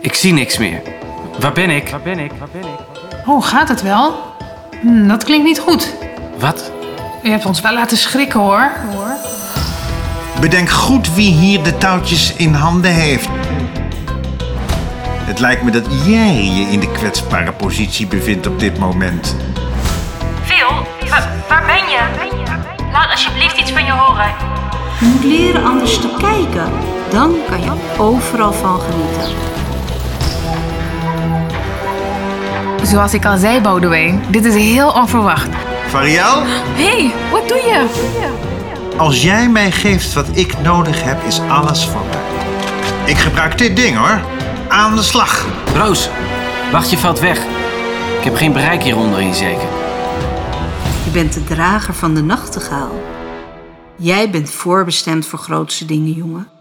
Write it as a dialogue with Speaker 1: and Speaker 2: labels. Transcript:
Speaker 1: Ik zie niks meer. Waar ben ik?
Speaker 2: Waar ben ik? Waar ben ik?
Speaker 3: Oh, gaat het wel? Hm, dat klinkt niet goed.
Speaker 1: Wat?
Speaker 3: U hebt ons wel laten schrikken hoor. hoor.
Speaker 4: Bedenk goed wie hier de touwtjes in handen heeft. Het lijkt me dat jij je in de kwetsbare positie bevindt op dit moment.
Speaker 5: Phil, waar, waar ben je? Laat alsjeblieft iets van je horen.
Speaker 6: Je moet leren anders te kijken. Dan kan je overal van genieten.
Speaker 7: Zoals ik al zei, Boudewijn, dit is heel onverwacht.
Speaker 4: Variel,
Speaker 7: hey, wat doe je?
Speaker 4: als jij mij geeft wat ik nodig heb, is alles van mij. Ik gebruik dit ding hoor. Aan de slag.
Speaker 1: Roos, wacht, je valt weg. Ik heb geen bereik hieronder in zeker.
Speaker 6: Je bent de drager van de nachtegaal. Jij bent voorbestemd voor grootste dingen, jongen.